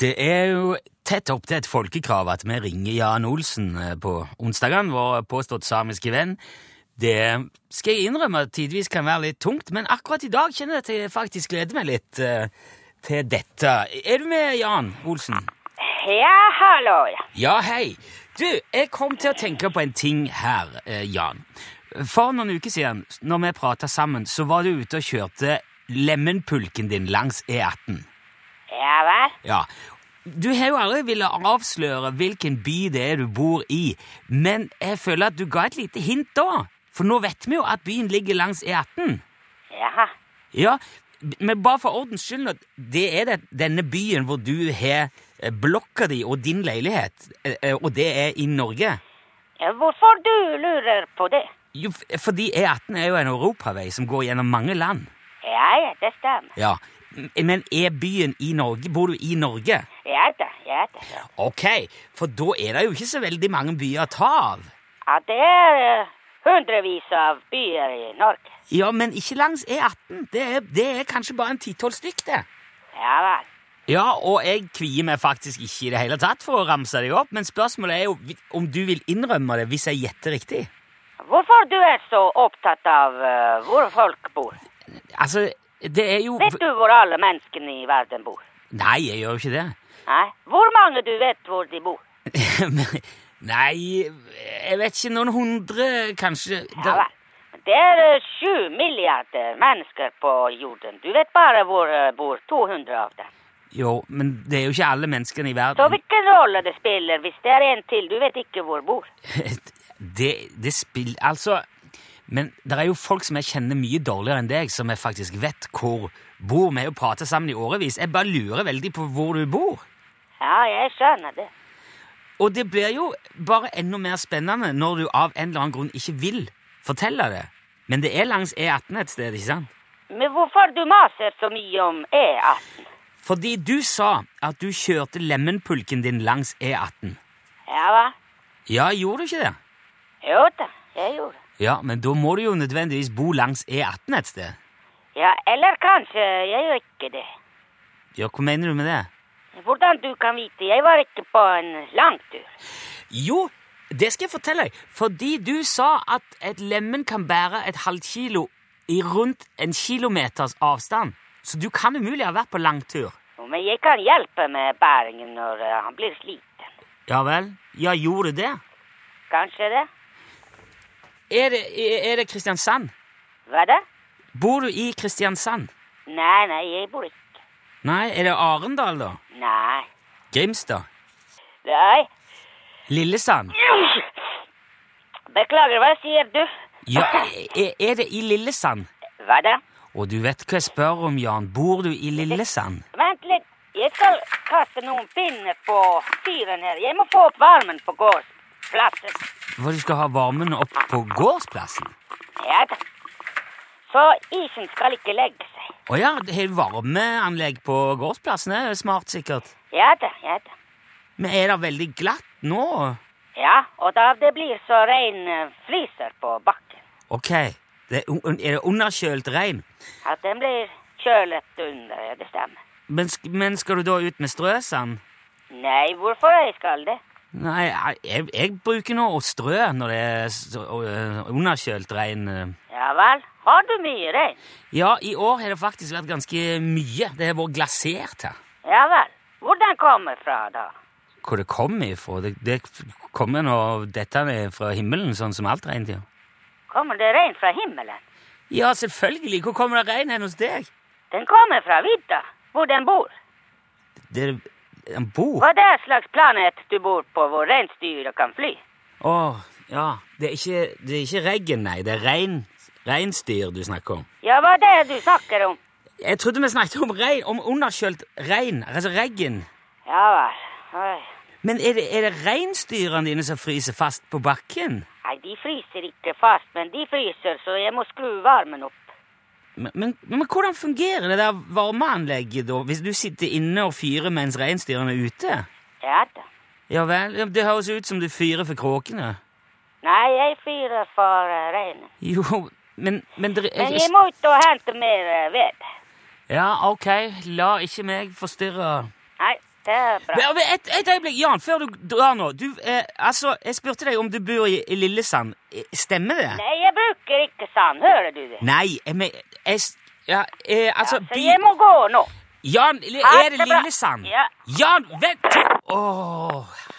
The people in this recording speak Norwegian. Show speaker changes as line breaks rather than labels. Det er jo tett opp til et folkekrav at vi ringer Jan Olsen eh, på onsdagen, vår påstått samiske venn. Det skal jeg innrømme at tidvis kan være litt tungt, men akkurat i dag kjenner jeg at jeg faktisk gleder meg litt eh, til dette. Er du med, Jan Olsen?
Ja, hallo, ja.
Ja, hei. Du, jeg kom til å tenke på en ting her, eh, Jan. For noen uker siden, når vi prata sammen, så var du ute og kjørte lemenpulken din langs E18.
Ja vel?
Ja. Du har jo aldri villet avsløre hvilken by det er du bor i, men jeg føler at du ga et lite hint da. For nå vet vi jo at byen ligger langs E18.
Jaha.
Ja, men bare for ordens skyld, nå, det er det, denne byen hvor du har eh, blokka di og din leilighet, eh, eh, og det er i Norge.
Ja, Hvorfor du lurer på det?
Jo, f- fordi E18 er jo en europavei som går gjennom mange land.
Ja, ja, det stemmer.
Ja, M- Men er byen i Norge? Bor du i Norge?
Ja da, ja da. Ja,
Ok, for da er det jo ikke så veldig mange byer å ta av.
ja det er eh, hundrevis av byer i Norge.
Ja, men ikke langs E18. Det er, det er kanskje bare en ti-tolv stykk, det.
Ja vel.
Ja, og jeg kvier meg faktisk ikke i det hele tatt for å ramse deg opp, men spørsmålet er jo vi- om du vil innrømme det hvis jeg gjetter riktig.
Hvorfor du er så opptatt av eh, hvor folk bor?
Altså, det er jo
Vet du hvor alle menneskene i verden bor?
Nei, jeg gjør jo ikke det.
Nei? Hvor mange du vet hvor de bor?
Men- Nei, jeg vet ikke. Noen hundre, kanskje?
Ja vel. Det er eh, sju milliarder mennesker på jorden. Du vet bare hvor eh, bor 200 av dem.
jo, men det er jo ikke alle menneskene i
Så
verden.
hvilken rolle det spiller hvis det er en til du vet ikke hvor bor?
Det, det spiller Altså Men det er jo folk som jeg kjenner mye dårligere enn deg, som jeg faktisk vet hvor bor. Vi har jo pratet sammen i årevis. Jeg bare lurer veldig på hvor du bor.
Ja, jeg skjønner det.
Og det blir jo bare enda mer spennende når du av en eller annen grunn ikke vil fortelle det. Men det er langs E18 et sted, ikke sant?
Men hvorfor du maser så mye om E18?
Fordi du sa at du kjørte lemenpulken din langs E18.
Ja hva?
Ja, gjorde du ikke det?
Jo da, jeg gjorde.
Ja, men da må du jo nødvendigvis bo langs E18 et sted.
Ja, eller kanskje jeg gjør ikke det.
Ja, hva mener du med det?
Hvordan du kan vite? Jeg var ikke på en langtur.
Jo, det skal jeg fortelle deg. Fordi du sa at et lemen kan bære et halvt kilo i rundt en kilometers avstand. Så du kan umulig ha vært på langtur.
Men jeg kan hjelpe med bæringen når eh, han blir sliten.
Ja vel? Ja, gjorde du det?
Kanskje det?
Er det, er det Kristiansand?
Hva da?
Bor du i Kristiansand?
Nei, nei, jeg bor ikke.
Nei, er det Arendal, da?
Nei.
Grimstad?
Nei.
Lillesand?
Beklager, hva sier du?
Ja, er, er det i Lillesand?
Hva da?
Og du vet hva jeg spør om, Jan. Bor du i Lillesand?
Vent litt. Jeg skal kaste noen pinner på fyren her. Jeg må få opp varmen på gårdsplassen.
For du skal ha varmen opp på gårdsplassen?
Ja da. Så isen skal ikke legge seg.
Å ja, det er varmeanlegg på gårdsplassen. Det er smart, sikkert.
Ja da, ja da.
Men er det veldig glatt nå?
Ja, og da det blir så rein eh, fryser på bakken.
Ok, det er, un- er det underkjølt regn?
At den blir kjølet under, ja, det stemmer.
Men, sk- men skal du da ut med strøsand?
Nei, hvorfor jeg skal det?
Nei, jeg, jeg bruker nå å strø når det er s- og, øh, underkjølt regn. øh.
Ja vel, har du mye rein?
Ja, i år har det faktisk vært ganske mye. Det har vært glasert her.
Ja vel. Hvordan kommer fra da?
Hvor det kommer ifra? Det, det kommer nå dette er fra himmelen, sånn som alt regn gjør.
Kommer det rein fra himmelen?
Ja, selvfølgelig. Hvor kommer det regn hen hos deg?
Den kommer fra vidda, hvor den bor.
Det er en bok.
Hva det er slags planet du bor på hvor reinsdyra kan fly?
Å, ja. Det er ikke, det er ikke regn, nei. Det er rein, reinsdyr du snakker om.
Ja, hva det er du snakker om?
Jeg trodde vi snakket om regn, om underkjølt regn, altså regn.
Ja vel. Oi.
Men er det, er det reinsdyrene dine som fryser fast på bakken?
Nei, de fryser ikke fast, men de fryser, så jeg må skru varmen opp.
Men, men, men hvordan fungerer det der varmeanlegget, da, hvis du sitter inne og fyrer mens reinsdyrene er ute?
Ja da.
Ja vel, ja, det høres ut som du fyrer for kråkene.
Nei, jeg fyrer for eh, reinen.
Jo, men, men det er
Men jeg må ut og hente mer eh, ved.
Ja, ok, la ikke meg forstyrre
Nei, Det er bra.
Ja, men Et, et øyeblikk, Jan, før du drar nå. Du, eh, altså, jeg spurte deg om du bor i, i Lillesand. Eh, Stemmer det?
Nei, jeg bruker ikke sand, hører du det?
Nei, jeg, men jeg s- ja, eh,
Ja,
altså,
så
by-
jeg må gå nå.
Jan, li-
Ha
er det
det bra.
Lillesand?
Ja.
Jan, vent! Åh,